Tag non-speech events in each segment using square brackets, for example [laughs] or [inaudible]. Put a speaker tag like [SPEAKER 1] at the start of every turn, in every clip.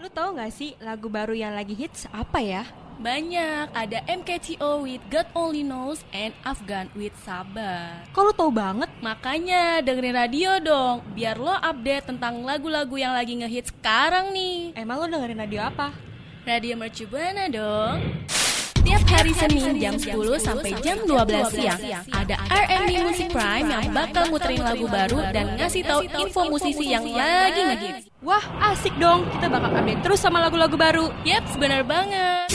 [SPEAKER 1] Lu tahu nggak sih lagu baru yang lagi hits apa ya?
[SPEAKER 2] Banyak, ada MKTO with God Only Knows and Afghan with Sabar.
[SPEAKER 1] Kok lu tahu banget?
[SPEAKER 2] Makanya dengerin radio dong, biar lo update tentang lagu-lagu yang lagi ngehits sekarang nih.
[SPEAKER 1] Emang lu dengerin radio apa?
[SPEAKER 2] Radio Mercu Buana dong. Tiap hari Senin jam 10 sampai jam 12 siang ada R&B Music Prime yang bakal muterin lagu baru dan ngasih tahu info musisi yang lagi ngehits.
[SPEAKER 1] Wah, asik dong. Kita bakal update terus sama lagu-lagu baru.
[SPEAKER 2] Yep, benar banget.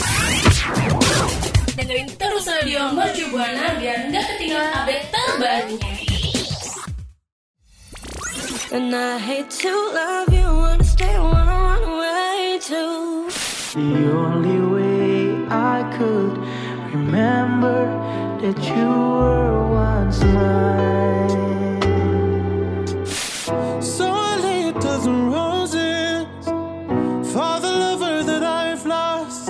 [SPEAKER 2] Dengerin terus radio Mercu Buana biar nggak ketinggalan update terbarunya.
[SPEAKER 3] And I hate to love you, wanna stay, wanna run away too.
[SPEAKER 4] The only way I could remember that you were once mine. So I lay a dozen roses for the lover that I've lost.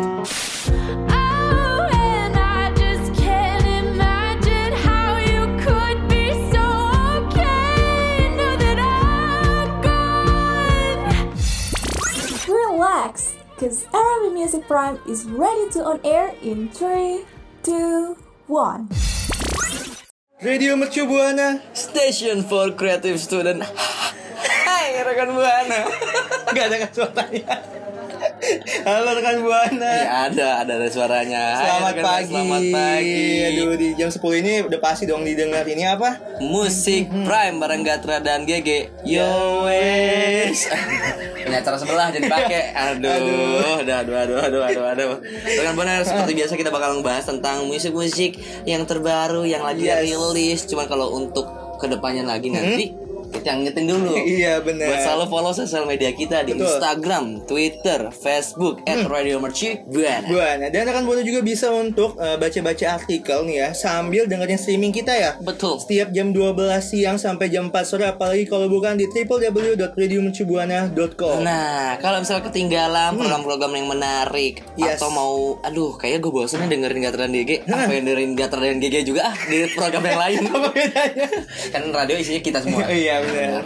[SPEAKER 3] Oh, and I just can't imagine how you could be so okay. Know that I'm gone.
[SPEAKER 5] Relax, cause Arabic Music Prime is ready to on air in 3, 2, 1.
[SPEAKER 6] Radio Mercu Buana.
[SPEAKER 7] Station for Creative Student. Hai rekan buana.
[SPEAKER 6] Gak ada kan suaranya. Halo rekan Buana.
[SPEAKER 7] Ya ada, ada ada suaranya. Hai,
[SPEAKER 6] Selamat
[SPEAKER 7] rekan Buana,
[SPEAKER 6] pagi.
[SPEAKER 7] Selamat pagi.
[SPEAKER 6] Aduh di jam 10 ini udah pasti dong didengar ini apa?
[SPEAKER 7] Musik
[SPEAKER 6] Mhm.
[SPEAKER 7] Prime bareng Gatra dan GG. Yo
[SPEAKER 6] [laughs]
[SPEAKER 7] wes. Ini acara sebelah jadi pakai. Aduh, aduh, aduh, aduh, aduh, aduh, aduh. Rekan
[SPEAKER 6] [laughs]
[SPEAKER 7] buana seperti biasa kita bakal ngebahas tentang musik-musik yang terbaru yang lagi
[SPEAKER 6] Yes. Mhm.
[SPEAKER 7] rilis. Cuman kalau untuk kedepannya lagi nanti kita ngitung dulu.
[SPEAKER 6] [laughs] Iya, benar.
[SPEAKER 7] Buat selalu follow sosial media kita di
[SPEAKER 6] Betul. Mhm.
[SPEAKER 7] Instagram, Twitter, Facebook @radiomercubuana.
[SPEAKER 6] Buana. Dan rekan Buana juga bisa untuk eh, baca-baca artikel nih ya sambil dengerin streaming kita ya.
[SPEAKER 7] Betul.
[SPEAKER 6] Setiap jam 12 siang sampai jam 4 sore apalagi kalau bukan di www.radiomercubuana.com.
[SPEAKER 7] Nah, kalau misalnya ketinggalan program-program yang menarik
[SPEAKER 6] Hmm. Yes.
[SPEAKER 7] atau mau, aduh, kayaknya gue bosannya dengerin Gatra dan GG, apa yang dengerin Gatra dan GG juga ah di program yang lain.
[SPEAKER 6] [laughs] Apa bedanya?
[SPEAKER 7] kan radio isinya kita semua.
[SPEAKER 6] [laughs] Iya, benar.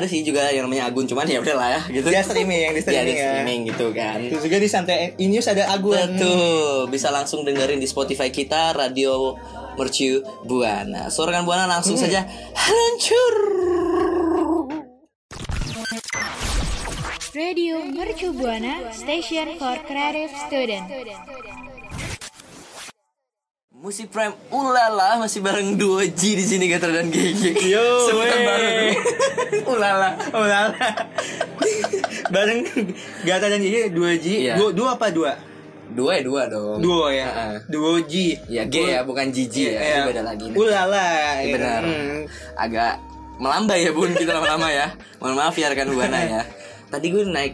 [SPEAKER 7] Ada sih juga yang namanya Agun, cuman ya udah lah ya gitu.
[SPEAKER 6] Dia streaming, yang di streaming
[SPEAKER 7] Dia di
[SPEAKER 6] ya.
[SPEAKER 7] streaming gitu kan.
[SPEAKER 6] Terus juga di santai Inius ada Aguan. [laughs]
[SPEAKER 7] Betul, bisa langsung dengerin di Spotify kita Radio Mercu Buana. So rekan Buana langsung saja hancur.
[SPEAKER 8] Radio Mercu Buana Station for Creative Student.
[SPEAKER 7] Musik Prime ulala masih bareng duo G di sini Gatra dan GG.
[SPEAKER 6] Yo,
[SPEAKER 7] Sebutan
[SPEAKER 6] wey.
[SPEAKER 7] baru dulu. [laughs] ulala.
[SPEAKER 6] Ulala. Bareng Gata dan Gigi 2G.
[SPEAKER 7] Iya.
[SPEAKER 6] Dua, dua apa dua?
[SPEAKER 7] Dua ya dua dong.
[SPEAKER 6] Dua ya.
[SPEAKER 7] Heeh.
[SPEAKER 6] Dua G.
[SPEAKER 7] Ya G ya bukan GG ya.
[SPEAKER 6] Iya.
[SPEAKER 7] Ini beda lagi. nih.
[SPEAKER 6] Ulala.
[SPEAKER 7] Iya, benar.
[SPEAKER 6] Hmm.
[SPEAKER 7] Agak melambai ya Bun kita lama-lama ya. Mohon maaf ya rekan Buana ya. Tadi gue naik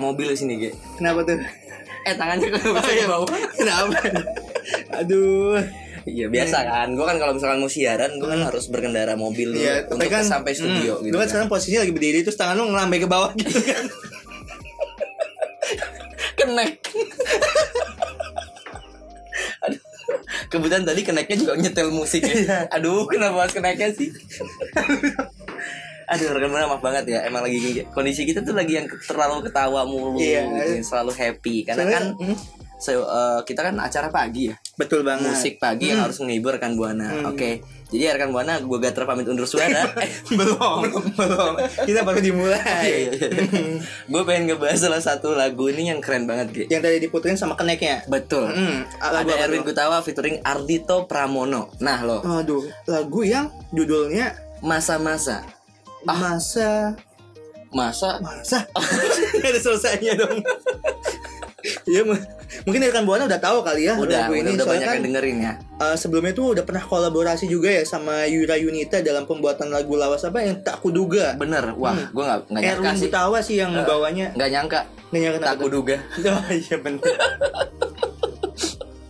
[SPEAKER 7] mobil di sini, Ge.
[SPEAKER 6] Kenapa tuh?
[SPEAKER 7] Eh tangannya kok
[SPEAKER 6] Oh,
[SPEAKER 7] bisa
[SPEAKER 6] iya.
[SPEAKER 7] ke bawah. Kenapa?
[SPEAKER 6] Aduh.
[SPEAKER 7] Iya biasa kan. Gue kan kalau misalkan mau siaran, gue kan harus berkendara mobil dulu
[SPEAKER 6] Hmm. Iya,
[SPEAKER 7] untuk
[SPEAKER 6] tapi kan-
[SPEAKER 7] sampai studio
[SPEAKER 6] Hmm.
[SPEAKER 7] gitu. Iya,
[SPEAKER 6] Lu kan sekarang posisinya lagi berdiri terus tangan lu ngelambai ke bawah gitu kan.
[SPEAKER 7] kenek Aduh. Kebetulan tadi keneknya juga nyetel musik
[SPEAKER 6] Iya.
[SPEAKER 7] ya. Aduh, kenapa harus keneknya sih? Aduh, rekan Buana maaf banget ya. Emang lagi kondisi kita tuh lagi yang terlalu ketawa mulu,
[SPEAKER 6] Iya.
[SPEAKER 7] gitu, yang selalu happy. Karena
[SPEAKER 6] Soalnya-
[SPEAKER 7] kan
[SPEAKER 6] hmm.
[SPEAKER 7] so, eh, kita kan acara pagi ya.
[SPEAKER 6] Betul banget.
[SPEAKER 7] Musik pagi
[SPEAKER 6] Hmm.
[SPEAKER 7] yang harus menghibur rekan Buana. Oke. Jadi rekan Buana gue gak pamit
[SPEAKER 6] [laughs]
[SPEAKER 7] undur suara.
[SPEAKER 6] [laughs]
[SPEAKER 7] Eh,
[SPEAKER 6] belum, belum. Kita baru
[SPEAKER 7] Iya,
[SPEAKER 6] dimulai. Hmm.
[SPEAKER 7] gue pengen ngebahas salah satu lagu ini yang keren banget, Ge.
[SPEAKER 6] Yang tadi diputerin sama keneknya.
[SPEAKER 7] Betul.
[SPEAKER 6] Iya. Hmm, lagu
[SPEAKER 7] iya. Ada
[SPEAKER 6] apa
[SPEAKER 7] Erwin
[SPEAKER 6] tuh?
[SPEAKER 7] Gutawa featuring Ardito Pramono. Nah lo,
[SPEAKER 6] Aduh, lagu yang judulnya
[SPEAKER 7] masa-masa, Ah.
[SPEAKER 6] Masa
[SPEAKER 7] masa
[SPEAKER 6] Masa? [laughs] Gak ada selesainya
[SPEAKER 7] [laughs]
[SPEAKER 6] dong. Iya, mu- mungkin rekan buana udah tahu kali ya
[SPEAKER 7] udah,
[SPEAKER 6] lagu
[SPEAKER 7] udah,
[SPEAKER 6] ini.
[SPEAKER 7] udah
[SPEAKER 6] Soalnya
[SPEAKER 7] banyak
[SPEAKER 6] kan
[SPEAKER 7] yang dengerin ya.
[SPEAKER 6] eh, sebelumnya tuh udah pernah kolaborasi juga ya sama Yura Yunita dalam pembuatan lagu lawas apa yang tak kuduga.
[SPEAKER 7] Bener, wah, gue nggak nggak nyangka
[SPEAKER 6] Erwin
[SPEAKER 7] sih,
[SPEAKER 6] Hmm. Gutawa sih yang bawanya.
[SPEAKER 7] nggak nyangka.
[SPEAKER 6] Nggak nyangka
[SPEAKER 7] Tak
[SPEAKER 6] kenapa tuh.
[SPEAKER 7] kuduga.
[SPEAKER 6] Oh iya benar. [laughs]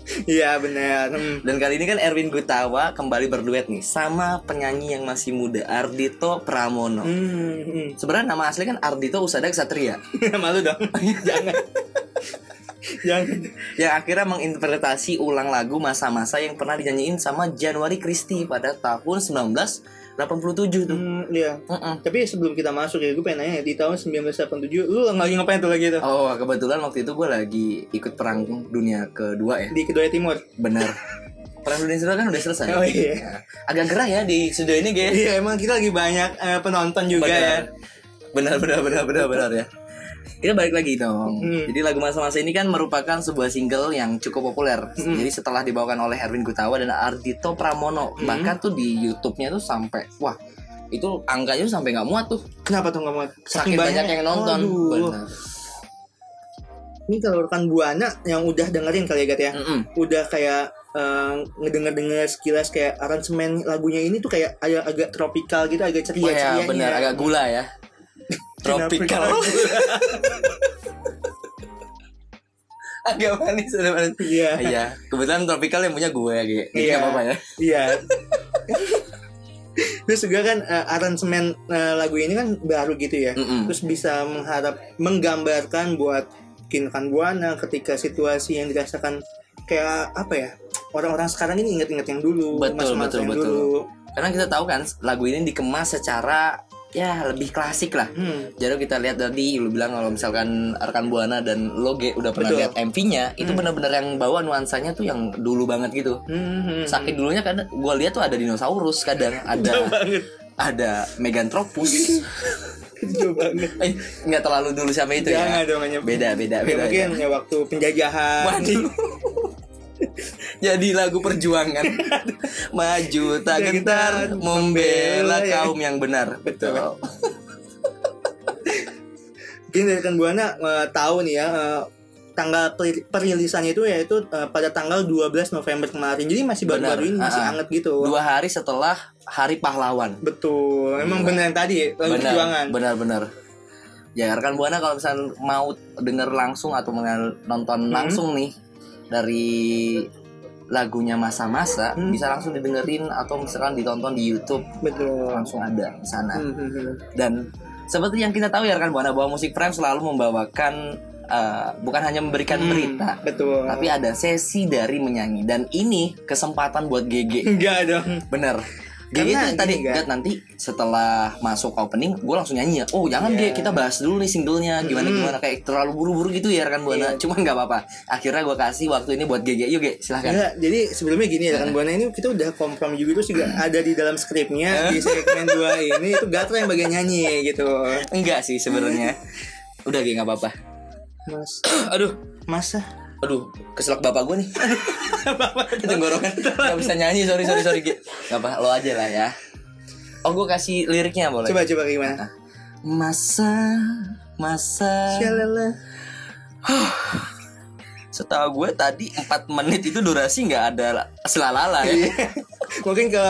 [SPEAKER 6] Iya benar. Hmm.
[SPEAKER 7] Dan kali ini kan Erwin Gutawa kembali berduet nih sama penyanyi yang masih muda Ardito Pramono.
[SPEAKER 6] Hmm,
[SPEAKER 7] Sebenarnya nama asli kan Ardito Usada
[SPEAKER 6] [laughs]
[SPEAKER 7] Satria
[SPEAKER 6] hmm. Malu dong. Jangan. Jangan.
[SPEAKER 7] [laughs] yang akhirnya menginterpretasi ulang lagu masa-masa yang pernah dinyanyiin sama Januari Christie pada tahun 19 87 tuh.
[SPEAKER 6] Hmm, iya.
[SPEAKER 7] Heeh.
[SPEAKER 6] Tapi sebelum kita masuk ya, gue pengen nanya di tahun 1987 lu lagi ngapain tuh lagi itu?
[SPEAKER 7] Oh, kebetulan waktu itu gue lagi ikut perang dunia kedua ya.
[SPEAKER 6] Di Kedua Timur.
[SPEAKER 7] Bener. Perang dunia kedua kan udah selesai.
[SPEAKER 6] Oh, iya.
[SPEAKER 7] Ya. Agak gerah ya di studio ini, guys.
[SPEAKER 6] Iya, emang kita lagi banyak eh, penonton juga ya.
[SPEAKER 7] Benar, benar, benar, benar, benar ya. Kita balik lagi dong.
[SPEAKER 6] Hmm.
[SPEAKER 7] Jadi lagu masa-masa ini kan merupakan sebuah single yang cukup populer.
[SPEAKER 6] Hmm.
[SPEAKER 7] Jadi setelah dibawakan oleh Erwin Gutawa dan Ardito Pramono,
[SPEAKER 6] Hmm.
[SPEAKER 7] bahkan tuh di YouTube-nya tuh sampai wah itu angkanya tuh sampai nggak muat tuh.
[SPEAKER 6] Kenapa tuh nggak mau?
[SPEAKER 7] Saking banyak, yang nonton.
[SPEAKER 6] Waduh.
[SPEAKER 7] Benar.
[SPEAKER 6] Ini kalau rekan buana yang udah dengerin kali ya, Gat ya.
[SPEAKER 7] Mm-mm.
[SPEAKER 6] Udah kayak eh, ngedenger-denger sekilas kayak aransemen lagunya ini tuh kayak agak, agak tropikal gitu, agak ceria
[SPEAKER 7] Iya, benar agak gula ya. Tropical.
[SPEAKER 6] [laughs] Kenapa?
[SPEAKER 7] gula. agak manis, agak manis.
[SPEAKER 6] Iya.
[SPEAKER 7] Iya, kebetulan tropical yang punya gue gitu. Jadi nggak apa-apa ya.
[SPEAKER 6] Iya. [laughs] Terus juga kan eh, aransemen eh, lagu ini kan baru gitu ya.
[SPEAKER 7] Mm-mm.
[SPEAKER 6] Terus bisa mengharap menggambarkan buat Kinkan Buana ketika situasi yang dirasakan kayak apa ya? Orang-orang sekarang ini inget-inget yang dulu,
[SPEAKER 7] Betul,
[SPEAKER 6] masa-masa
[SPEAKER 7] betul,
[SPEAKER 6] yang
[SPEAKER 7] betul.
[SPEAKER 6] dulu.
[SPEAKER 7] Karena kita tahu kan lagu ini dikemas secara ya lebih klasik lah.
[SPEAKER 6] Hmm.
[SPEAKER 7] Jadi kita lihat tadi lu bilang kalau misalkan rekan Buana dan Loge udah pernah
[SPEAKER 6] Betul.
[SPEAKER 7] lihat MV-nya, itu benar-benar yang bawa nuansanya tuh yang dulu banget gitu.
[SPEAKER 6] Hmm, hmm.
[SPEAKER 7] Saking dulunya kan gue lihat tuh ada dinosaurus kadang ada ada
[SPEAKER 6] [laughs]
[SPEAKER 7] Meganthropus.
[SPEAKER 6] Jauh banget.
[SPEAKER 7] Eh, nggak terlalu dulu sama itu
[SPEAKER 6] Jangan
[SPEAKER 7] ya.
[SPEAKER 6] dong hanya
[SPEAKER 7] Beda,
[SPEAKER 6] Ya,
[SPEAKER 7] beda, beda.
[SPEAKER 6] mungkin ya waktu penjajahan.
[SPEAKER 7] Waduh. [laughs] Jadi lagu [laughs] perjuangan Maju tak gentar Membela kaum yang benar Betul
[SPEAKER 6] Mungkin dari Rekan Buana eh, tahu nih ya eh, tanggal per- perilisannya itu yaitu eh, pada tanggal 12 November kemarin. Jadi masih
[SPEAKER 7] Benar.
[SPEAKER 6] baru-baru ini masih
[SPEAKER 7] Ah, ah.
[SPEAKER 6] anget gitu.
[SPEAKER 7] Dua hari setelah Hari Pahlawan
[SPEAKER 6] Betul. Emang beneran tadi lagu perjuangan.
[SPEAKER 7] Benar-benar Ya rekan Buana kalau misalnya mau denger langsung Atau mengenal- nonton langsung nih Dari lagunya masa-masa
[SPEAKER 6] Hmm.
[SPEAKER 7] bisa langsung didengerin atau misalkan ditonton di YouTube
[SPEAKER 6] Betul.
[SPEAKER 7] langsung ada di sana
[SPEAKER 6] Hmm, hmm, hmm.
[SPEAKER 7] dan seperti yang kita tahu ya rekan buana bahwa musik prime selalu membawakan eh, bukan hanya memberikan
[SPEAKER 6] Hmm,
[SPEAKER 7] berita
[SPEAKER 6] Betul.
[SPEAKER 7] tapi ada sesi dari menyanyi dan ini kesempatan buat
[SPEAKER 6] [laughs]
[SPEAKER 7] GG
[SPEAKER 6] enggak dong.
[SPEAKER 7] bener GG
[SPEAKER 6] Karena
[SPEAKER 7] itu
[SPEAKER 6] gini,
[SPEAKER 7] tadi
[SPEAKER 6] Gak.
[SPEAKER 7] Gat, nanti setelah masuk opening gue langsung nyanyi ya oh jangan
[SPEAKER 6] Iya. Hmm.
[SPEAKER 7] Gek, kita bahas dulu nih singlenya gimana gimana kayak terlalu buru-buru gitu ya rekan buana
[SPEAKER 6] Iya.
[SPEAKER 7] cuman nggak apa-apa akhirnya gue kasih waktu ini buat GG yuk Gek, silahkan
[SPEAKER 6] Enggak, jadi sebelumnya gini ya kan Buana ini kita udah kompromi juga terus juga
[SPEAKER 7] Hmm.
[SPEAKER 6] ada di dalam skripnya di segmen 2 ini itu Gatra yang bagian nyanyi gitu.
[SPEAKER 7] enggak sih
[SPEAKER 6] [laughs]
[SPEAKER 7] sebenarnya udah Gek, nggak apa-apa [clears throat]
[SPEAKER 6] Mas, ah.
[SPEAKER 7] aduh
[SPEAKER 6] masa
[SPEAKER 7] Aduh, keselak bapak gue
[SPEAKER 6] [laughs]
[SPEAKER 7] nih. Tenggorokan nggak bisa nyanyi, sorry sorry sorry. Gi. Nggak apa, lo aja lah ya. Oh, gue kasih liriknya boleh.
[SPEAKER 6] coba coba gimana?
[SPEAKER 7] Masa, masa.
[SPEAKER 6] Shalala.
[SPEAKER 7] Setahu gue tadi 4 menit itu durasi nggak ada selalala
[SPEAKER 6] Iya.
[SPEAKER 7] ya.
[SPEAKER 6] [laughs] Mungkin ke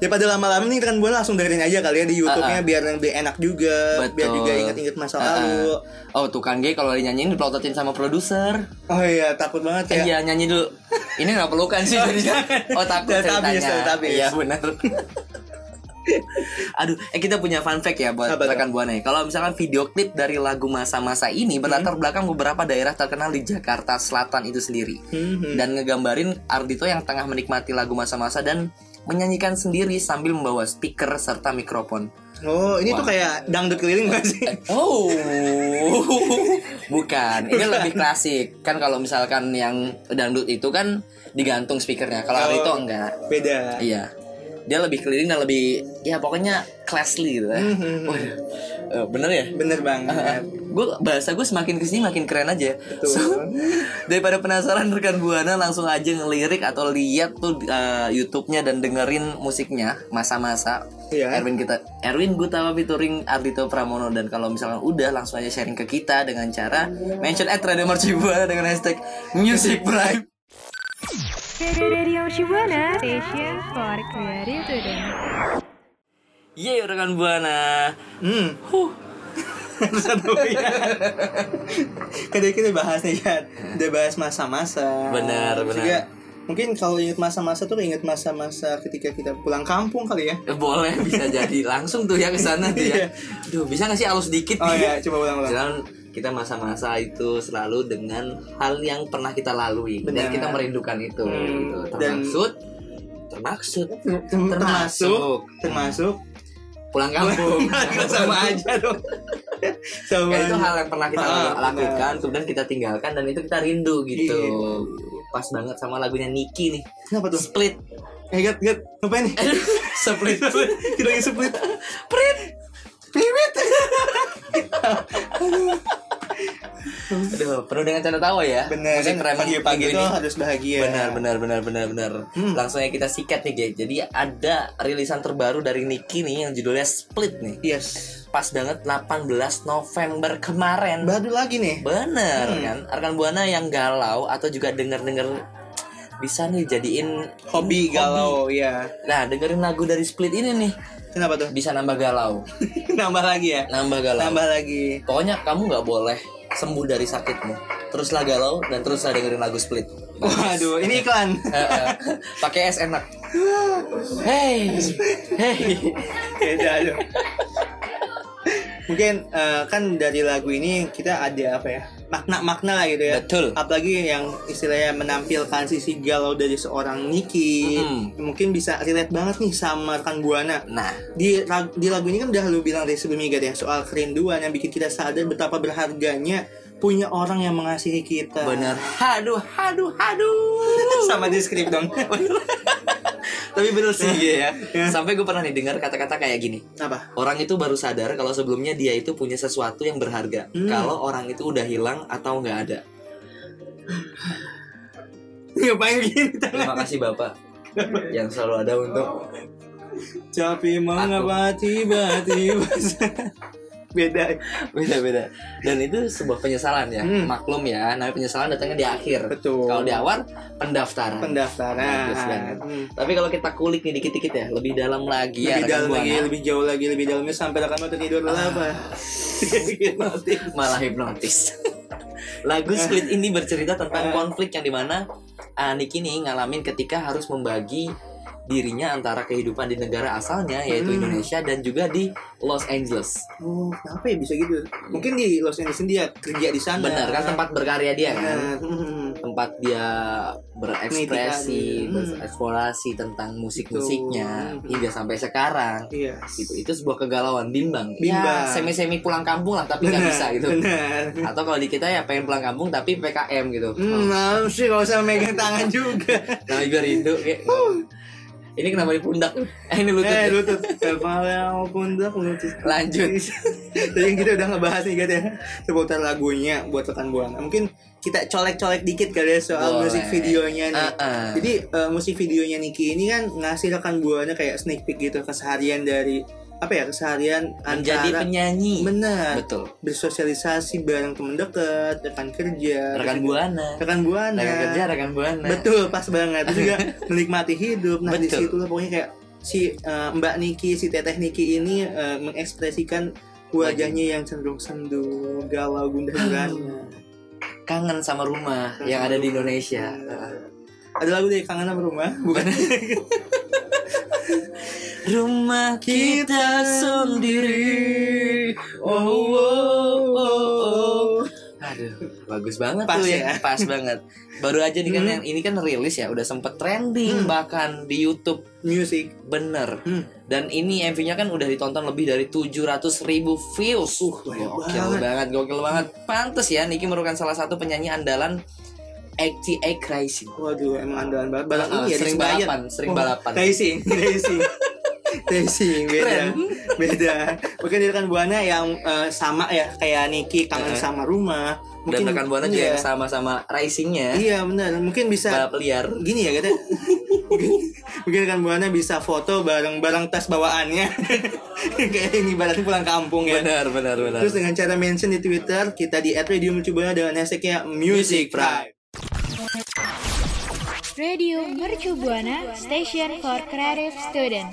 [SPEAKER 6] daripada lama-lama nih kan Buana langsung dengerin aja kali ya di YouTube-nya biar lebih enak juga, biar
[SPEAKER 7] Betul.
[SPEAKER 6] juga ingat-ingat masa
[SPEAKER 7] Ah, ah.
[SPEAKER 6] lalu.
[SPEAKER 7] Oh, tukang G kalau dinyanyiin dipelototin sama produser.
[SPEAKER 6] Oh iya, takut banget ya.
[SPEAKER 7] Iya, nyanyi dulu. Ini nggak pelukan sih jadinya. Oh, takut
[SPEAKER 6] Teletubbies,
[SPEAKER 7] ceritanya.
[SPEAKER 6] teletubbies.
[SPEAKER 7] Iya, benar. [laughs] Aduh, eh kita punya fun fact ya buat
[SPEAKER 6] Apa tuh?
[SPEAKER 7] rekan Buana. ya. Kalau misalkan video klip dari lagu masa-masa ini berlatar belakang beberapa daerah terkenal di Jakarta Selatan itu sendiri.
[SPEAKER 6] Mhm.
[SPEAKER 7] Dan ngegambarin Ardito yang tengah menikmati lagu masa-masa dan menyanyikan sendiri sambil membawa speaker serta mikrofon.
[SPEAKER 6] Oh, ini tuh kayak dangdut keliling gak
[SPEAKER 7] [laughs]
[SPEAKER 6] sih?
[SPEAKER 7] Oh, bukan. Ini lebih klasik. Kan kalau misalkan yang dangdut itu kan digantung speakernya. Kalau
[SPEAKER 6] Oh.
[SPEAKER 7] Arito enggak.
[SPEAKER 6] Beda.
[SPEAKER 7] Iya. Dia lebih keliling dan lebih ya pokoknya classy gitu ya. Waduh. Eh, bener ya?
[SPEAKER 6] Bener banget.
[SPEAKER 7] Gue bahasa gue semakin kesini makin keren
[SPEAKER 6] Iya.
[SPEAKER 7] aja.
[SPEAKER 6] Betul.
[SPEAKER 7] [laughs] daripada penasaran rekan buana langsung aja ngelirik atau lihat tuh eh, YouTube-nya dan dengerin musiknya masa-masa
[SPEAKER 6] Iya.
[SPEAKER 7] Erwin kita Erwin Gutawa featuring Ardito Pramono dan kalau misalkan udah langsung aja sharing ke kita dengan cara mention at Radio Mercubuana dengan hashtag
[SPEAKER 6] [laughs]
[SPEAKER 7] Music Prime.
[SPEAKER 8] Radio Shibuana, Station for Creative Students.
[SPEAKER 7] Yeay Iya, rekan buana.
[SPEAKER 6] Hmm. [laughs] Satu Kan ya. Tadi kita bahas nih ya, udah bahas masa-masa.
[SPEAKER 7] Benar,
[SPEAKER 6] Terus
[SPEAKER 7] benar.
[SPEAKER 6] juga, mungkin kalau ingat masa-masa tuh ingat masa-masa ketika kita pulang kampung kali ya.
[SPEAKER 7] Eh, boleh bisa jadi langsung tuh ya ke sana tuh ya. Duh, bisa nggak sih halus dikit?
[SPEAKER 6] Iya. Oh ya, coba ulang-ulang.
[SPEAKER 7] Jalan kita masa-masa itu selalu dengan hal yang pernah kita lalui dan
[SPEAKER 6] Benar.
[SPEAKER 7] kita merindukan itu
[SPEAKER 6] Hmm,
[SPEAKER 7] gitu.
[SPEAKER 6] dan-
[SPEAKER 7] Termaksud termaksud
[SPEAKER 6] Termasuk termasuk
[SPEAKER 7] pulang
[SPEAKER 6] [laughs]
[SPEAKER 7] kampung sama aja dong
[SPEAKER 6] Sama
[SPEAKER 7] Ya, itu hal yang pernah kita
[SPEAKER 6] Ah,
[SPEAKER 7] lakukan kemudian kita tinggalkan dan itu kita rindu gitu
[SPEAKER 6] Iya.
[SPEAKER 7] pas banget sama lagunya Niki nih
[SPEAKER 6] Kenapa tuh?
[SPEAKER 7] split
[SPEAKER 6] Eh, Gat, Gat, ngapain nih? [laughs] Split, kita lagi split. Prit, pirit.
[SPEAKER 7] aduh penuh dengan canda tawa ya
[SPEAKER 6] Bener, kan
[SPEAKER 7] Maksudnya keren
[SPEAKER 6] pagi-pagi Iya. Hmm.
[SPEAKER 7] pagi
[SPEAKER 6] itu gitu harus bahagia.
[SPEAKER 7] benar benar benar benar benar langsung aja kita sikat nih guys jadi ada rilisan terbaru dari Niki nih yang judulnya split nih
[SPEAKER 6] Yes.
[SPEAKER 7] pas banget 18 November kemarin
[SPEAKER 6] Baru lagi nih.
[SPEAKER 7] Bener
[SPEAKER 6] Hmm.
[SPEAKER 7] kan Arkan Buana yang galau atau juga denger-denger bisa nih jadiin
[SPEAKER 6] Hobi galau, ya.
[SPEAKER 7] Nah dengerin lagu dari Split ini nih
[SPEAKER 6] Kenapa tuh?
[SPEAKER 7] bisa nambah galau,
[SPEAKER 6] [laughs] Nambah lagi ya.
[SPEAKER 7] nambah galau.
[SPEAKER 6] Nambah lagi.
[SPEAKER 7] Pokoknya kamu nggak boleh sembuh dari sakitmu. Teruslah galau dan teruslah dengerin lagu Split.
[SPEAKER 6] Waduh, ini iklan.
[SPEAKER 7] Eh, eh, Pakai es enak. Hey, hey.
[SPEAKER 6] [laughs] Beda aja. Mungkin eh, kan dari lagu ini kita ada apa ya? Makna-makna lah gitu ya.
[SPEAKER 7] Betul.
[SPEAKER 6] Apalagi yang istilahnya menampilkan sisi galau dari seorang Niki.
[SPEAKER 7] Mm-mm.
[SPEAKER 6] Mungkin bisa relate banget nih sama rekan Buana.
[SPEAKER 7] Nah,
[SPEAKER 6] di, rag- di lagu ini kan udah lu bilang dari sebelumnya Gad, ya soal kerinduan yang bikin kita sadar betapa berharganya punya orang yang mengasihi kita
[SPEAKER 7] bener. Haduh, haduh, haduh.
[SPEAKER 6] sama di skrip dong
[SPEAKER 7] Tapi bener sih ya.
[SPEAKER 6] Ya.
[SPEAKER 7] Sampai gue pernah nih dengar kata-kata kayak gini.
[SPEAKER 6] apa
[SPEAKER 7] Orang itu baru sadar kalau sebelumnya dia itu punya sesuatu yang berharga.
[SPEAKER 6] Hmm.
[SPEAKER 7] Kalau orang itu udah hilang atau nggak ada.
[SPEAKER 6] ngapain gini
[SPEAKER 7] Terima kasih Bapak yang selalu ada untuk
[SPEAKER 6] tapi mengapa
[SPEAKER 7] [laughs]
[SPEAKER 6] tiba-tiba beda
[SPEAKER 7] beda-beda. Dan itu sebuah penyesalan ya.
[SPEAKER 6] Hmm.
[SPEAKER 7] Maklum ya, namanya penyesalan datangnya di akhir.
[SPEAKER 6] Betul.
[SPEAKER 7] Kalau Nah, di awal pendaftaran. Bagus
[SPEAKER 6] pendaftaran
[SPEAKER 7] banget.
[SPEAKER 6] Hmm.
[SPEAKER 7] Tapi kalau kita kulik nih dikit-dikit ya, lebih dalam lagi ya.
[SPEAKER 6] lebih
[SPEAKER 7] rekan
[SPEAKER 6] dalam lagi
[SPEAKER 7] Buana.
[SPEAKER 6] lebih jauh lagi lebih dalamnya sampai rekan mau tertidur
[SPEAKER 7] Ah.
[SPEAKER 6] lah apa
[SPEAKER 7] hipnotis malah hipnotis [laughs] lagu
[SPEAKER 6] Eh.
[SPEAKER 7] split ini bercerita tentang konflik yang dimana Anik ini ngalamin ketika harus membagi dirinya antara kehidupan di negara asalnya yaitu
[SPEAKER 6] Hmm.
[SPEAKER 7] Indonesia dan juga di Los Angeles
[SPEAKER 6] [laughs] oh kenapa ya bisa gitu mungkin di Los Angeles ini dia kerja di sana
[SPEAKER 7] benar kan tempat berkarya dia kan
[SPEAKER 6] Benar. Hmm.
[SPEAKER 7] tempat dia
[SPEAKER 6] Meniti
[SPEAKER 7] berekspresi
[SPEAKER 6] karir. Hmm.
[SPEAKER 7] bereksplorasi tentang musik-musiknya
[SPEAKER 6] Betul. Hmm.
[SPEAKER 7] hingga sampai sekarang
[SPEAKER 6] iya
[SPEAKER 7] gitu itu sebuah kegalauan bimbang
[SPEAKER 6] Bimbang.
[SPEAKER 7] ya semi-semi pulang kampung lah tapi nggak
[SPEAKER 6] Iya. Benar,
[SPEAKER 7] bisa gitu
[SPEAKER 6] benar.
[SPEAKER 7] atau kalau di kita ya pengen pulang kampung tapi PKM gitu
[SPEAKER 6] Hmm, maaf sih gak usah megang tangan juga.
[SPEAKER 7] Nah, juga rindu kayak ini kenapa di pundak eh ini lutut
[SPEAKER 6] Hmm. eh,
[SPEAKER 7] ya.
[SPEAKER 6] lutut. Kepala maupun dak lutut.
[SPEAKER 7] lanjut
[SPEAKER 6] Tadi yang kita udah ngebahas nih Gat, ya seputar lagunya buat rekan buana. Mungkin kita colek-colek dikit kali ya soal
[SPEAKER 7] Boleh.
[SPEAKER 6] musik videonya nih.
[SPEAKER 7] Uh-uh.
[SPEAKER 6] Jadi eh, musik videonya Niki ini kan ngasih rekan buana kayak sneak peek gitu keseharian dari apa ya keseharian
[SPEAKER 7] menjadi
[SPEAKER 6] antara
[SPEAKER 7] penyanyi
[SPEAKER 6] benar
[SPEAKER 7] betul
[SPEAKER 6] bersosialisasi bareng temen dekat rekan kerja
[SPEAKER 7] rekan buana
[SPEAKER 6] rekan buana
[SPEAKER 7] rekan kerja rekan buana
[SPEAKER 6] Betul, pas banget. Terus
[SPEAKER 7] [laughs]
[SPEAKER 6] juga menikmati hidup. Nah, di
[SPEAKER 7] Nah. Betul.
[SPEAKER 6] situ lah pokoknya kayak si eh, Mbak Niki, si Teteh Niki ini eh, mengekspresikan wajahnya yang cenderung sendu, galau, gundah
[SPEAKER 7] Iya.
[SPEAKER 6] gulana.
[SPEAKER 7] kangen sama rumah yang ada di Indonesia
[SPEAKER 6] Ada lagu dari Kangen sama Rumah, [laughs] bukan?
[SPEAKER 7] rumah kita sendiri oh, oh, oh, oh. Aduh, bagus banget
[SPEAKER 6] Pas
[SPEAKER 7] tuh
[SPEAKER 6] ya.
[SPEAKER 7] ya. [laughs] Pas banget. Baru aja nih kan
[SPEAKER 6] Hmm.
[SPEAKER 7] yang ini kan rilis ya, udah sempet trending
[SPEAKER 6] Hmm.
[SPEAKER 7] bahkan di YouTube
[SPEAKER 6] Music.
[SPEAKER 7] bener.
[SPEAKER 6] Hmm.
[SPEAKER 7] Dan ini MV-nya kan udah ditonton lebih dari 700 ribu views. Uh,
[SPEAKER 6] banyak
[SPEAKER 7] gokil
[SPEAKER 6] banget.
[SPEAKER 7] banget. gokil banget. Pantes ya, Niki merupakan salah satu penyanyi andalan ATA Rising.
[SPEAKER 6] Waduh, emang andalan banget. Barang
[SPEAKER 7] Ah,
[SPEAKER 6] ini ya,
[SPEAKER 7] sering
[SPEAKER 6] disembayan.
[SPEAKER 7] balapan, sering balapan.
[SPEAKER 6] Racing,
[SPEAKER 7] [laughs]
[SPEAKER 6] racing. Racing, beda,
[SPEAKER 7] Keren.
[SPEAKER 6] beda. Mungkin dia rekan buana yang eh, sama ya kayak Niki kangen
[SPEAKER 7] Eh.
[SPEAKER 6] sama rumah.
[SPEAKER 7] Dan rekan buana juga
[SPEAKER 6] iya.
[SPEAKER 7] yang sama-sama racingnya
[SPEAKER 6] Iya benar, mungkin bisa
[SPEAKER 7] balap liar.
[SPEAKER 6] gini ya kata mungkin, mungkin kan buana bisa foto bareng bareng tas bawaannya [laughs] kayak ini ibaratnya pulang kampung ya
[SPEAKER 7] Benar, benar, benar.
[SPEAKER 6] terus dengan cara mention di twitter kita di @radiomercubuana dengan hashtagnya music pride
[SPEAKER 8] Radio Mercu Buana, Station for Creative Student.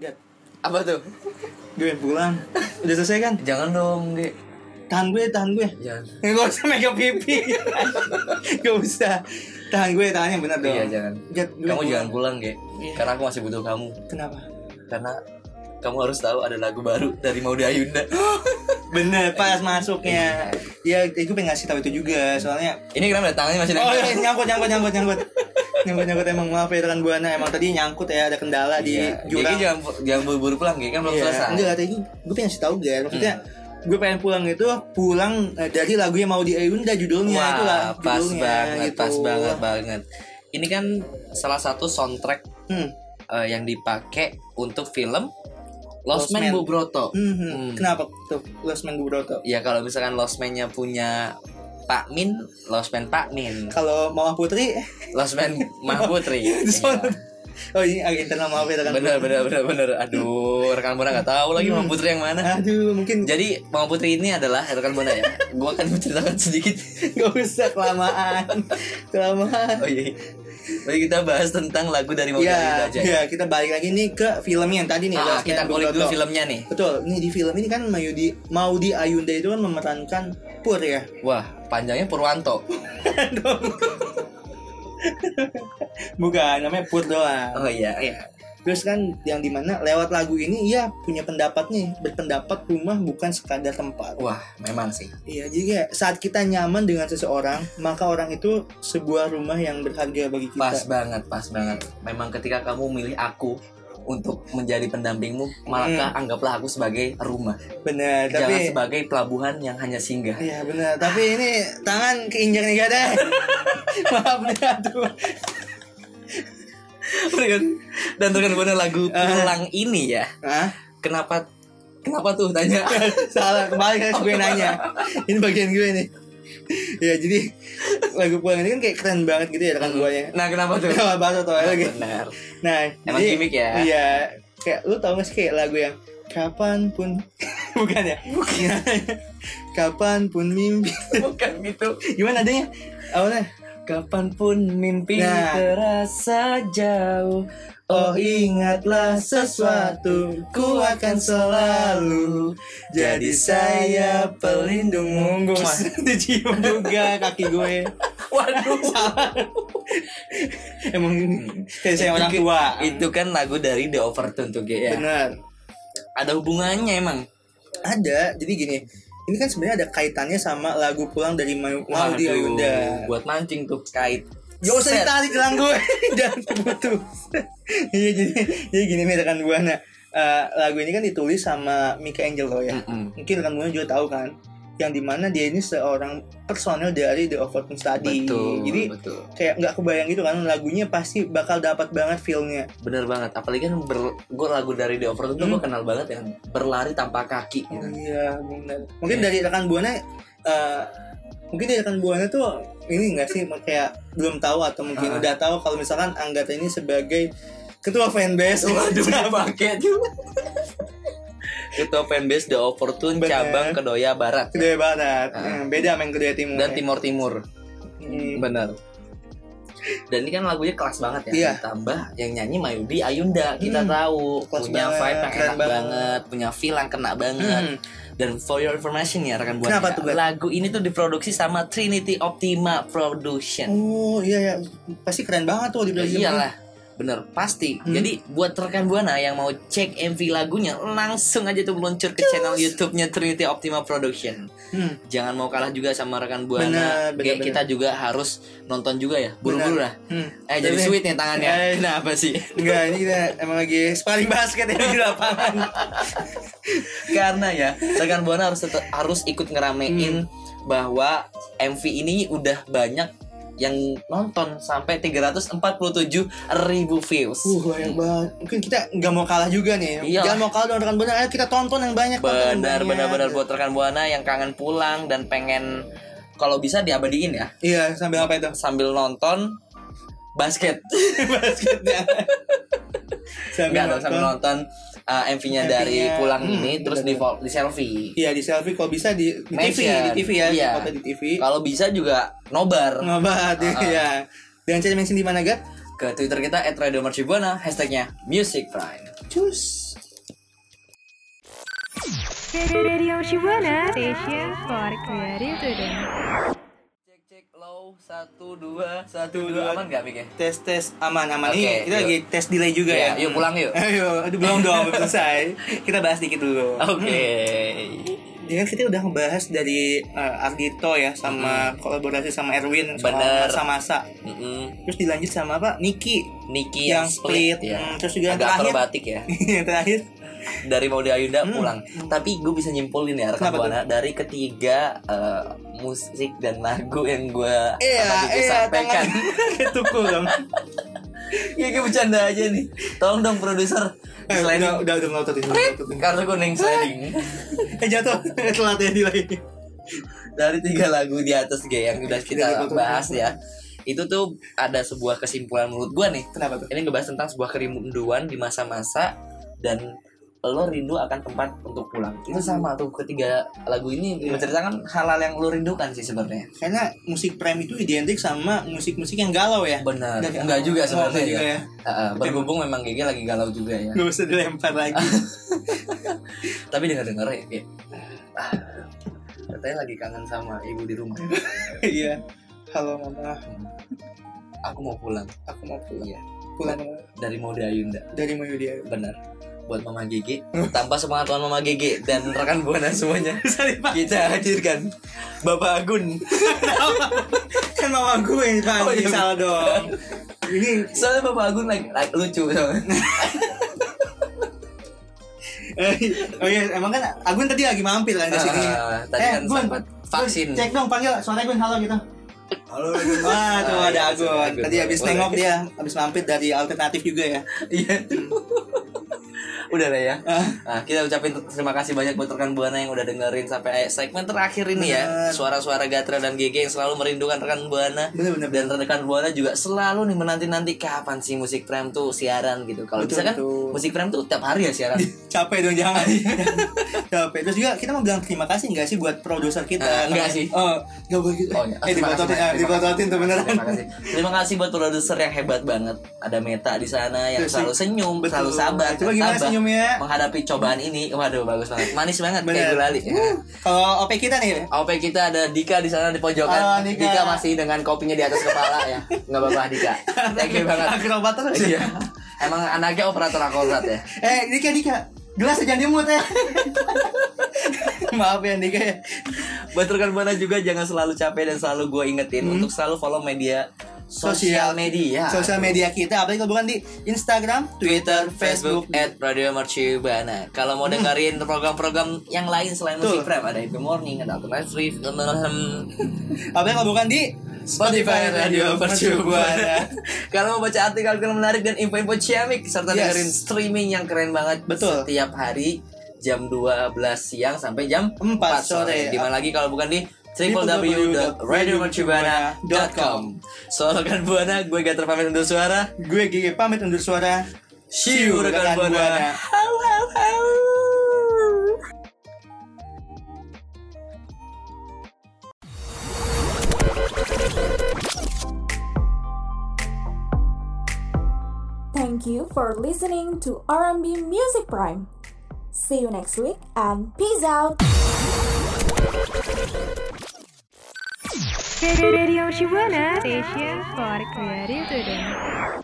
[SPEAKER 6] Gat,
[SPEAKER 7] Apa tuh?
[SPEAKER 6] gue pengen pulang udah selesai kan
[SPEAKER 7] Jangan dong, Ge.
[SPEAKER 6] tahan gue tahan gue
[SPEAKER 7] Jangan.
[SPEAKER 6] Gak usah megang pipi Gak usah Tahan gue, tahan yang benar dong
[SPEAKER 7] Iya, jangan.
[SPEAKER 6] Gat, gue
[SPEAKER 7] Kamu jangan pulang, Ge.
[SPEAKER 6] Iya.
[SPEAKER 7] Karena aku masih butuh kamu.
[SPEAKER 6] Kenapa?
[SPEAKER 7] Karena kamu harus tahu ada lagu baru dari Maudy Ayunda.
[SPEAKER 6] Bener, pas masuknya Ya, gue pengen ngasih tahu itu juga Soalnya
[SPEAKER 7] Ini kenapa tangannya masih
[SPEAKER 6] Oh,
[SPEAKER 7] nempel?
[SPEAKER 6] iya, nyangkut, nyangkut, nyangkut, nyangkut. nyangkut-nyangkut emang maaf ya rekan buana emang tadi nyangkut ya ada kendala di
[SPEAKER 7] Iya. Jadi
[SPEAKER 6] jurang
[SPEAKER 7] jangan jangan buru-buru pulang Ge, kan belum
[SPEAKER 6] Iya,
[SPEAKER 7] selesai. Hmm.
[SPEAKER 6] enggak tadi gue pengen sih tahu gak maksudnya gue pengen pulang itu pulang eh, dari lagu yang mau di Ayunda judulnya
[SPEAKER 7] Wah,
[SPEAKER 6] itulah
[SPEAKER 7] pas
[SPEAKER 6] judulnya,
[SPEAKER 7] banget,
[SPEAKER 6] gitu.
[SPEAKER 7] pas banget banget. Ini kan salah satu soundtrack
[SPEAKER 6] Hmm.
[SPEAKER 7] eh, yang dipakai untuk film
[SPEAKER 6] Lost
[SPEAKER 7] Lost, Man
[SPEAKER 6] Man.
[SPEAKER 7] Bobroto.
[SPEAKER 6] Mhm.
[SPEAKER 7] Hmm.
[SPEAKER 6] Kenapa tuh Lost Man Broto?
[SPEAKER 7] Ya kalau misalkan Lost Man-nya punya Pak Min, Lost Man Pak Min,
[SPEAKER 6] Kalau Mawar Putri,
[SPEAKER 7] Lost Man Mah
[SPEAKER 6] [laughs]
[SPEAKER 7] Putri.
[SPEAKER 6] Itu
[SPEAKER 7] Iya.
[SPEAKER 6] sound. oh ini agak internal maaf ya rekan
[SPEAKER 7] bener bener bener bener. Aduh, rekan buana nggak tahu lagi Mah Putri yang mana.
[SPEAKER 6] Aduh, mungkin
[SPEAKER 7] Jadi Mama Putri ini adalah rekan buana ya. Gua akan menceritakan sedikit.
[SPEAKER 6] [laughs] nggak usah kelamaan, kelamaan.
[SPEAKER 7] Oh iya. Baik kita bahas tentang lagu dari Mama
[SPEAKER 6] Iya, iya,
[SPEAKER 7] aja.
[SPEAKER 6] ya, kita balik lagi nih ke filmnya yang tadi nih.
[SPEAKER 7] Ah,
[SPEAKER 6] Lost
[SPEAKER 7] kita
[SPEAKER 6] Man
[SPEAKER 7] kulik dulu
[SPEAKER 6] Broto.
[SPEAKER 7] filmnya nih.
[SPEAKER 6] Betul, ini di film ini kan Maudi Maudi Ayunda itu kan memerankan Pur ya.
[SPEAKER 7] Wah, panjangnya Purwanto.
[SPEAKER 6] Bukan, namanya Pur doang.
[SPEAKER 7] Oh iya, iya.
[SPEAKER 6] Terus kan yang dimana lewat lagu ini ia punya pendapat nih, berpendapat rumah bukan sekadar tempat.
[SPEAKER 7] Wah, memang sih.
[SPEAKER 6] Iya, jadi kayak saat kita nyaman dengan seseorang, maka orang itu sebuah rumah yang berharga bagi kita.
[SPEAKER 7] Pas banget, pas banget. Memang ketika kamu milih aku untuk menjadi pendampingmu, maka anggaplah aku sebagai rumah.
[SPEAKER 6] Benar, Hmm.
[SPEAKER 7] Jangan
[SPEAKER 6] tapi
[SPEAKER 7] sebagai pelabuhan yang hanya singgah.
[SPEAKER 6] Iya benar, tapi ini tangan keinjak nih gak Maaf nih aduh.
[SPEAKER 7] Dengan- kan? Dan dengan benar lagu
[SPEAKER 6] Ah.
[SPEAKER 7] pulang ini ya.
[SPEAKER 6] Hah?
[SPEAKER 7] Kenapa kenapa tuh tanya?
[SPEAKER 6] Salah, kembali kan gue nanya. Ini bagian gue nih. ya jadi lagu pulang ini kan kayak keren banget gitu ya rekan gue ya.
[SPEAKER 7] nah, kenapa tuh?
[SPEAKER 6] Kenapa bahasa tuh ya, lagi?
[SPEAKER 7] Benar.
[SPEAKER 6] Nah,
[SPEAKER 7] Emang gimmick ya?
[SPEAKER 6] Iya. Kayak lu tau gak sih kayak lagu yang kapan pun [laughs] bukan ya? Bukan. [laughs] kapan pun mimpi.
[SPEAKER 7] [laughs] Bukan gitu.
[SPEAKER 6] Gimana adanya? Awalnya
[SPEAKER 7] Kapanpun mimpi
[SPEAKER 6] Nah.
[SPEAKER 7] terasa jauh
[SPEAKER 6] Oh ingatlah sesuatu Ku akan selalu Jadi saya pelindungmu Gue [laughs] mas Dicium juga kaki gue
[SPEAKER 7] Waduh
[SPEAKER 6] Emang Kayak saya orang tua
[SPEAKER 7] Hmm. Itu kan lagu dari The Overtone tuh Ge, ya
[SPEAKER 6] Bener
[SPEAKER 7] Ada hubungannya emang
[SPEAKER 6] Ada Jadi gini Ini kan sebenarnya ada kaitannya sama lagu pulang dari Mau- Maudi
[SPEAKER 7] Waduh,
[SPEAKER 6] Ayunda
[SPEAKER 7] Buat mancing tuh kait
[SPEAKER 6] Gak usah
[SPEAKER 7] Set.
[SPEAKER 6] ditarik gelang gue [laughs] Jangan putus [laughs] Iya jadi Jadi gini nih rekan Buana Eh, Lagu ini kan ditulis sama Mika Angelo ya
[SPEAKER 7] Mm-mm.
[SPEAKER 6] mungkin rekan Buana juga tahu kan yang dimana dia ini seorang personel dari The Overton Study
[SPEAKER 7] Betul
[SPEAKER 6] jadi
[SPEAKER 7] betul.
[SPEAKER 6] kayak nggak kebayang gitu kan lagunya pasti bakal dapat banget feelnya
[SPEAKER 7] Bener banget Apalagi kan ber, gua lagu dari The Overtone tuh
[SPEAKER 6] Hmm.
[SPEAKER 7] gue kenal banget yang Berlari tanpa kaki gitu.
[SPEAKER 6] iya benar mungkin dari rekan buana eh, mungkin dari rekan buana tuh ini nggak sih kayak belum tahu atau mungkin
[SPEAKER 7] Ah.
[SPEAKER 6] udah tahu kalau misalkan Anggata ini sebagai ketua fanbase
[SPEAKER 7] [laughs]
[SPEAKER 6] [laughs]
[SPEAKER 7] Waduh dipakai tuh Ketua fanbase The Overtune
[SPEAKER 6] Bener.
[SPEAKER 7] cabang Kedoya Barat
[SPEAKER 6] kedua barat
[SPEAKER 7] Ah.
[SPEAKER 6] Eh, beda sama yang kedua timur
[SPEAKER 7] dan
[SPEAKER 6] ya.
[SPEAKER 7] Timor Timur
[SPEAKER 6] Mm.
[SPEAKER 7] benar dan ini kan lagunya kelas banget ya
[SPEAKER 6] Iya.
[SPEAKER 7] ditambah yang nyanyi Mayudi Ayunda kita
[SPEAKER 6] Hmm.
[SPEAKER 7] tahu
[SPEAKER 6] Kelas
[SPEAKER 7] punya
[SPEAKER 6] banget,
[SPEAKER 7] vibe yang
[SPEAKER 6] keren
[SPEAKER 7] enak banget.
[SPEAKER 6] banget.
[SPEAKER 7] punya feel yang kena banget
[SPEAKER 6] Hmm.
[SPEAKER 7] dan for your information ya rekan buana
[SPEAKER 6] Kenapa tuh, Bang?
[SPEAKER 7] lagu ini tuh diproduksi sama Trinity Optima Production
[SPEAKER 6] oh iya ya pasti keren banget tuh di
[SPEAKER 7] Ya
[SPEAKER 6] Brazil
[SPEAKER 7] iyalah bener pasti
[SPEAKER 6] Hmm.
[SPEAKER 7] jadi buat rekan buana yang mau cek MV lagunya langsung aja tuh meluncur ke channel YouTube-nya Trinity Optima Production
[SPEAKER 6] Hmm.
[SPEAKER 7] jangan mau kalah juga sama rekan buana
[SPEAKER 6] Bener, bener,
[SPEAKER 7] Kayak
[SPEAKER 6] bener.
[SPEAKER 7] kita juga harus nonton juga ya buru-buru lah
[SPEAKER 6] Hmm.
[SPEAKER 7] eh jadi
[SPEAKER 6] Tapi-
[SPEAKER 7] sweet nih tangannya
[SPEAKER 6] Eh.
[SPEAKER 7] kenapa sih
[SPEAKER 6] Enggak, ini kita emang lagi sparring basket
[SPEAKER 7] [laughs]
[SPEAKER 6] ya
[SPEAKER 7] Iya.
[SPEAKER 6] di lapangan.
[SPEAKER 7] karena ya rekan buana harus tetep- harus ikut ngeramein bahwa MV ini udah banyak yang nonton sampai 347 ribu views
[SPEAKER 6] Uh, banyak banget. Mungkin kita nggak mau kalah juga nih.
[SPEAKER 7] Iyalah.
[SPEAKER 6] Jangan mau kalah dengan rekan benar. Ayo kita tonton yang banyak. tonton yang
[SPEAKER 7] benar
[SPEAKER 6] banyak.
[SPEAKER 7] benar benar buat rekan buana yang kangen pulang dan pengen kalau bisa diabadiin ya
[SPEAKER 6] Iya, sambil apa itu?
[SPEAKER 7] sambil nonton basket
[SPEAKER 6] Basketnya. sambil
[SPEAKER 7] enggak dong sambil
[SPEAKER 6] nonton.
[SPEAKER 7] nonton uh,
[SPEAKER 6] MV-nya.
[SPEAKER 7] MV-nya dari pulang
[SPEAKER 6] Hmm,
[SPEAKER 7] ini terus di
[SPEAKER 6] benar-benar.
[SPEAKER 7] di selfie
[SPEAKER 6] Iya, di selfie kalau bisa di, di TV,
[SPEAKER 7] Mention.
[SPEAKER 6] di TV ya,
[SPEAKER 7] Iya.
[SPEAKER 6] di foto di TV.
[SPEAKER 7] kalau bisa juga nobar
[SPEAKER 6] Ngobat ya. Iya. Dan cari mention di mana, Gat?
[SPEAKER 7] ke Twitter kita @radiomercubuana hashtagnya Music Prime
[SPEAKER 6] Cus.
[SPEAKER 8] Radio Shibuana, Station for Creative Students.
[SPEAKER 7] cek cek low satu dua satu dua aman nggak Mik ya?
[SPEAKER 6] Tes tes aman aman
[SPEAKER 7] Oke,
[SPEAKER 6] nih. Kita
[SPEAKER 7] yuk.
[SPEAKER 6] lagi tes delay juga
[SPEAKER 7] Iya,
[SPEAKER 6] ya.
[SPEAKER 7] yuk
[SPEAKER 6] [laughs]
[SPEAKER 7] pulang yuk. [laughs]
[SPEAKER 6] Ayo, aduh belum dong, belum selesai. Kita bahas dikit dulu.
[SPEAKER 7] Oke.
[SPEAKER 6] ini kan kita udah ngebahas dari eh, Ardito ya sama kolaborasi sama Erwin sama
[SPEAKER 7] Mm-hmm. Bener.
[SPEAKER 6] masa-masa
[SPEAKER 7] Mm-mm.
[SPEAKER 6] terus dilanjut sama apa Niki [laughs] Yang
[SPEAKER 7] Niki yang,
[SPEAKER 6] split,
[SPEAKER 7] split, ya.
[SPEAKER 6] hmm, terus juga yang
[SPEAKER 7] agak
[SPEAKER 6] terakhir.
[SPEAKER 7] akrobatik ya
[SPEAKER 6] yang terakhir
[SPEAKER 7] dari Maudy Ayunda
[SPEAKER 6] Hmm.
[SPEAKER 7] pulang. Tapi gue bisa nyimpulin ya rekan
[SPEAKER 6] Kenapa
[SPEAKER 7] buana dari ketiga eh, musik dan lagu yang gue
[SPEAKER 6] Iya,
[SPEAKER 7] tadi gue
[SPEAKER 6] iya,
[SPEAKER 7] sampaikan.
[SPEAKER 6] [laughs] itu cool dong
[SPEAKER 7] Ya gue bercanda aja nih. Tolong dong produser
[SPEAKER 6] eh, udah
[SPEAKER 7] sliding.
[SPEAKER 6] udah udah melotot itu melototin.
[SPEAKER 7] Kartu kuning sliding
[SPEAKER 6] eh jatuh [laughs] telat ya nilai
[SPEAKER 7] dari tiga lagu di atas G yang udah
[SPEAKER 6] Tiga
[SPEAKER 7] kita
[SPEAKER 6] lagu.
[SPEAKER 7] bahas ya. Itu tuh ada sebuah kesimpulan menurut gue nih.
[SPEAKER 6] kenapa tuh
[SPEAKER 7] Ini ngebahas tentang sebuah kerinduan di masa-masa dan lo rindu akan tempat untuk pulang itu sama tuh ketiga lagu ini
[SPEAKER 6] Iya.
[SPEAKER 7] menceritakan hal-hal yang lo rindukan sih sebenarnya
[SPEAKER 6] karena musik prime itu identik sama musik-musik yang galau ya
[SPEAKER 7] Benar.
[SPEAKER 6] Dari-
[SPEAKER 7] Enggak
[SPEAKER 6] Oh,
[SPEAKER 7] juga sebenarnya.
[SPEAKER 6] enggak juga
[SPEAKER 7] ya.
[SPEAKER 6] ya.
[SPEAKER 7] Heeh, berhubung memang Gigi lagi galau juga ya.
[SPEAKER 6] Gak usah dilempar lagi [laughs]
[SPEAKER 7] Tapi dengar-dengar ya kayak ah, katanya lagi kangen sama ibu di rumah.
[SPEAKER 6] Iya Halo mama
[SPEAKER 7] Aku mau pulang.
[SPEAKER 6] Aku mau pulang
[SPEAKER 7] Iya.
[SPEAKER 6] Pulang
[SPEAKER 7] Dari Mode Ayunda.
[SPEAKER 6] dari Mayudia
[SPEAKER 7] Benar. Buat Mama
[SPEAKER 6] [laughs]
[SPEAKER 7] Gigi, tanpa sepengetahuan Mama Gigi dan rekan buana semuanya, kita hadirkan Bapak Agun.
[SPEAKER 6] Kan mama gue yang
[SPEAKER 7] Oh,
[SPEAKER 6] dipanggil
[SPEAKER 7] iya.
[SPEAKER 6] salah [laughs] dong [laughs] Ini
[SPEAKER 7] Soalnya Bapak Agun like, like lucu [laughs] soalnya.
[SPEAKER 6] Eh, oh iya, emang kan Agun tadi lagi mampir kan di sini.
[SPEAKER 7] Ah, tadi kan sempat vaksin.
[SPEAKER 6] Gun, Cek dong panggil suara Gun halo gitu. Halo. Hmm. [laughs] Wah, tuh
[SPEAKER 7] Ah,
[SPEAKER 6] ada
[SPEAKER 7] iya,
[SPEAKER 6] Agun.
[SPEAKER 7] suara Agun.
[SPEAKER 6] Tadi habis
[SPEAKER 7] Boleh.
[SPEAKER 6] nengok dia, habis mampir dari alternatif juga ya.
[SPEAKER 7] [laughs] Iya. Udah lah ya.
[SPEAKER 6] Ah,
[SPEAKER 7] Nah, kita ucapin terima kasih banyak buat rekan Buana yang udah dengerin sampai segmen terakhir ini
[SPEAKER 6] Bener.
[SPEAKER 7] ya. Suara-suara Gatra dan GG yang selalu merindukan rekan Buana.
[SPEAKER 6] Bener, bener,
[SPEAKER 7] Dan rekan Buana juga selalu nih menanti-nanti kapan sih musik Prime tuh siaran gitu. Kalau
[SPEAKER 6] Betul,
[SPEAKER 7] bisa kan
[SPEAKER 6] betul.
[SPEAKER 7] musik Prime tuh tiap hari ya siaran.
[SPEAKER 6] capek dong jangan.
[SPEAKER 7] Iya.
[SPEAKER 6] [laughs] capek. Terus juga kita mau bilang terima kasih enggak sih buat produser kita?
[SPEAKER 7] Eh, enggak
[SPEAKER 6] Namanya-
[SPEAKER 7] sih.
[SPEAKER 6] Oh, enggak boleh gitu.
[SPEAKER 7] [laughs] Oh, iya.
[SPEAKER 6] Eh,
[SPEAKER 7] Terima kasih,
[SPEAKER 6] dibototin,
[SPEAKER 7] Mas.
[SPEAKER 6] ah,
[SPEAKER 7] Terima
[SPEAKER 6] dibototin tuh beneran.
[SPEAKER 7] Terima kasih. Terima kasih buat produser yang hebat banget. Ada Meta di sana
[SPEAKER 6] Terus Iya
[SPEAKER 7] yang
[SPEAKER 6] sih.
[SPEAKER 7] selalu senyum,
[SPEAKER 6] Betul.
[SPEAKER 7] selalu sabar,
[SPEAKER 6] Coba gimana
[SPEAKER 7] tabah
[SPEAKER 6] senyumnya?
[SPEAKER 7] menghadapi cobaan ini. Waduh, bagus banget. Manis banget
[SPEAKER 6] Bener.
[SPEAKER 7] kayak gulali. Ya. [laughs]
[SPEAKER 6] Uh, Kalau OP kita nih,
[SPEAKER 7] OP kita ada Dika di sana di
[SPEAKER 6] Halo,
[SPEAKER 7] pojokan.
[SPEAKER 6] Ah, Dika.
[SPEAKER 7] Dika. masih dengan kopinya di atas kepala ya. Nggak apa-apa Dika. Thank you
[SPEAKER 6] [laughs]
[SPEAKER 7] banget.
[SPEAKER 6] Akrobat terus.
[SPEAKER 7] Iya. Emang anaknya operator akrobat ya.
[SPEAKER 6] Eh, Dika, Dika. Gelas jangan dimut
[SPEAKER 7] [laughs]
[SPEAKER 6] ya. Maaf ya Dika ya.
[SPEAKER 7] Buat rekan Buana juga jangan selalu capek dan selalu gue ingetin untuk selalu follow media Hmm. sosial media.
[SPEAKER 6] Sosial media kita apalagi kalau bukan di Instagram, Twitter,
[SPEAKER 7] Twitter,
[SPEAKER 6] Facebook,
[SPEAKER 7] Facebook, Hmm. at Radio Merci Buana. Kalau mau dengerin program-program yang lain selain
[SPEAKER 6] Tuh.
[SPEAKER 7] musik rap, ada Happy Morning, ada Alternative,
[SPEAKER 6] apalagi kalau bukan di
[SPEAKER 7] Spotify Radio
[SPEAKER 6] Percubuana.
[SPEAKER 7] Percobaan. [laughs] Kalau mau baca artikel-artikel menarik dan info-info ciamik serta
[SPEAKER 6] Yes.
[SPEAKER 7] dengerin streaming yang keren banget
[SPEAKER 6] Betul.
[SPEAKER 7] setiap hari jam 12 siang sampai jam
[SPEAKER 6] 4 sore.
[SPEAKER 7] 4 sore. Di mana lagi kalau bukan di
[SPEAKER 6] www.radiomercubuana.com.
[SPEAKER 7] www.radiomercubuana.com So rekan kan Buana, gue gak terpamit undur suara.
[SPEAKER 6] Gue Gigi pamit undur suara.
[SPEAKER 7] See you rekan Buana.
[SPEAKER 5] Thank you for listening to R&B Music Prime. See you next week and peace out.
[SPEAKER 8] Radio Shibuana, Station for Creative Students.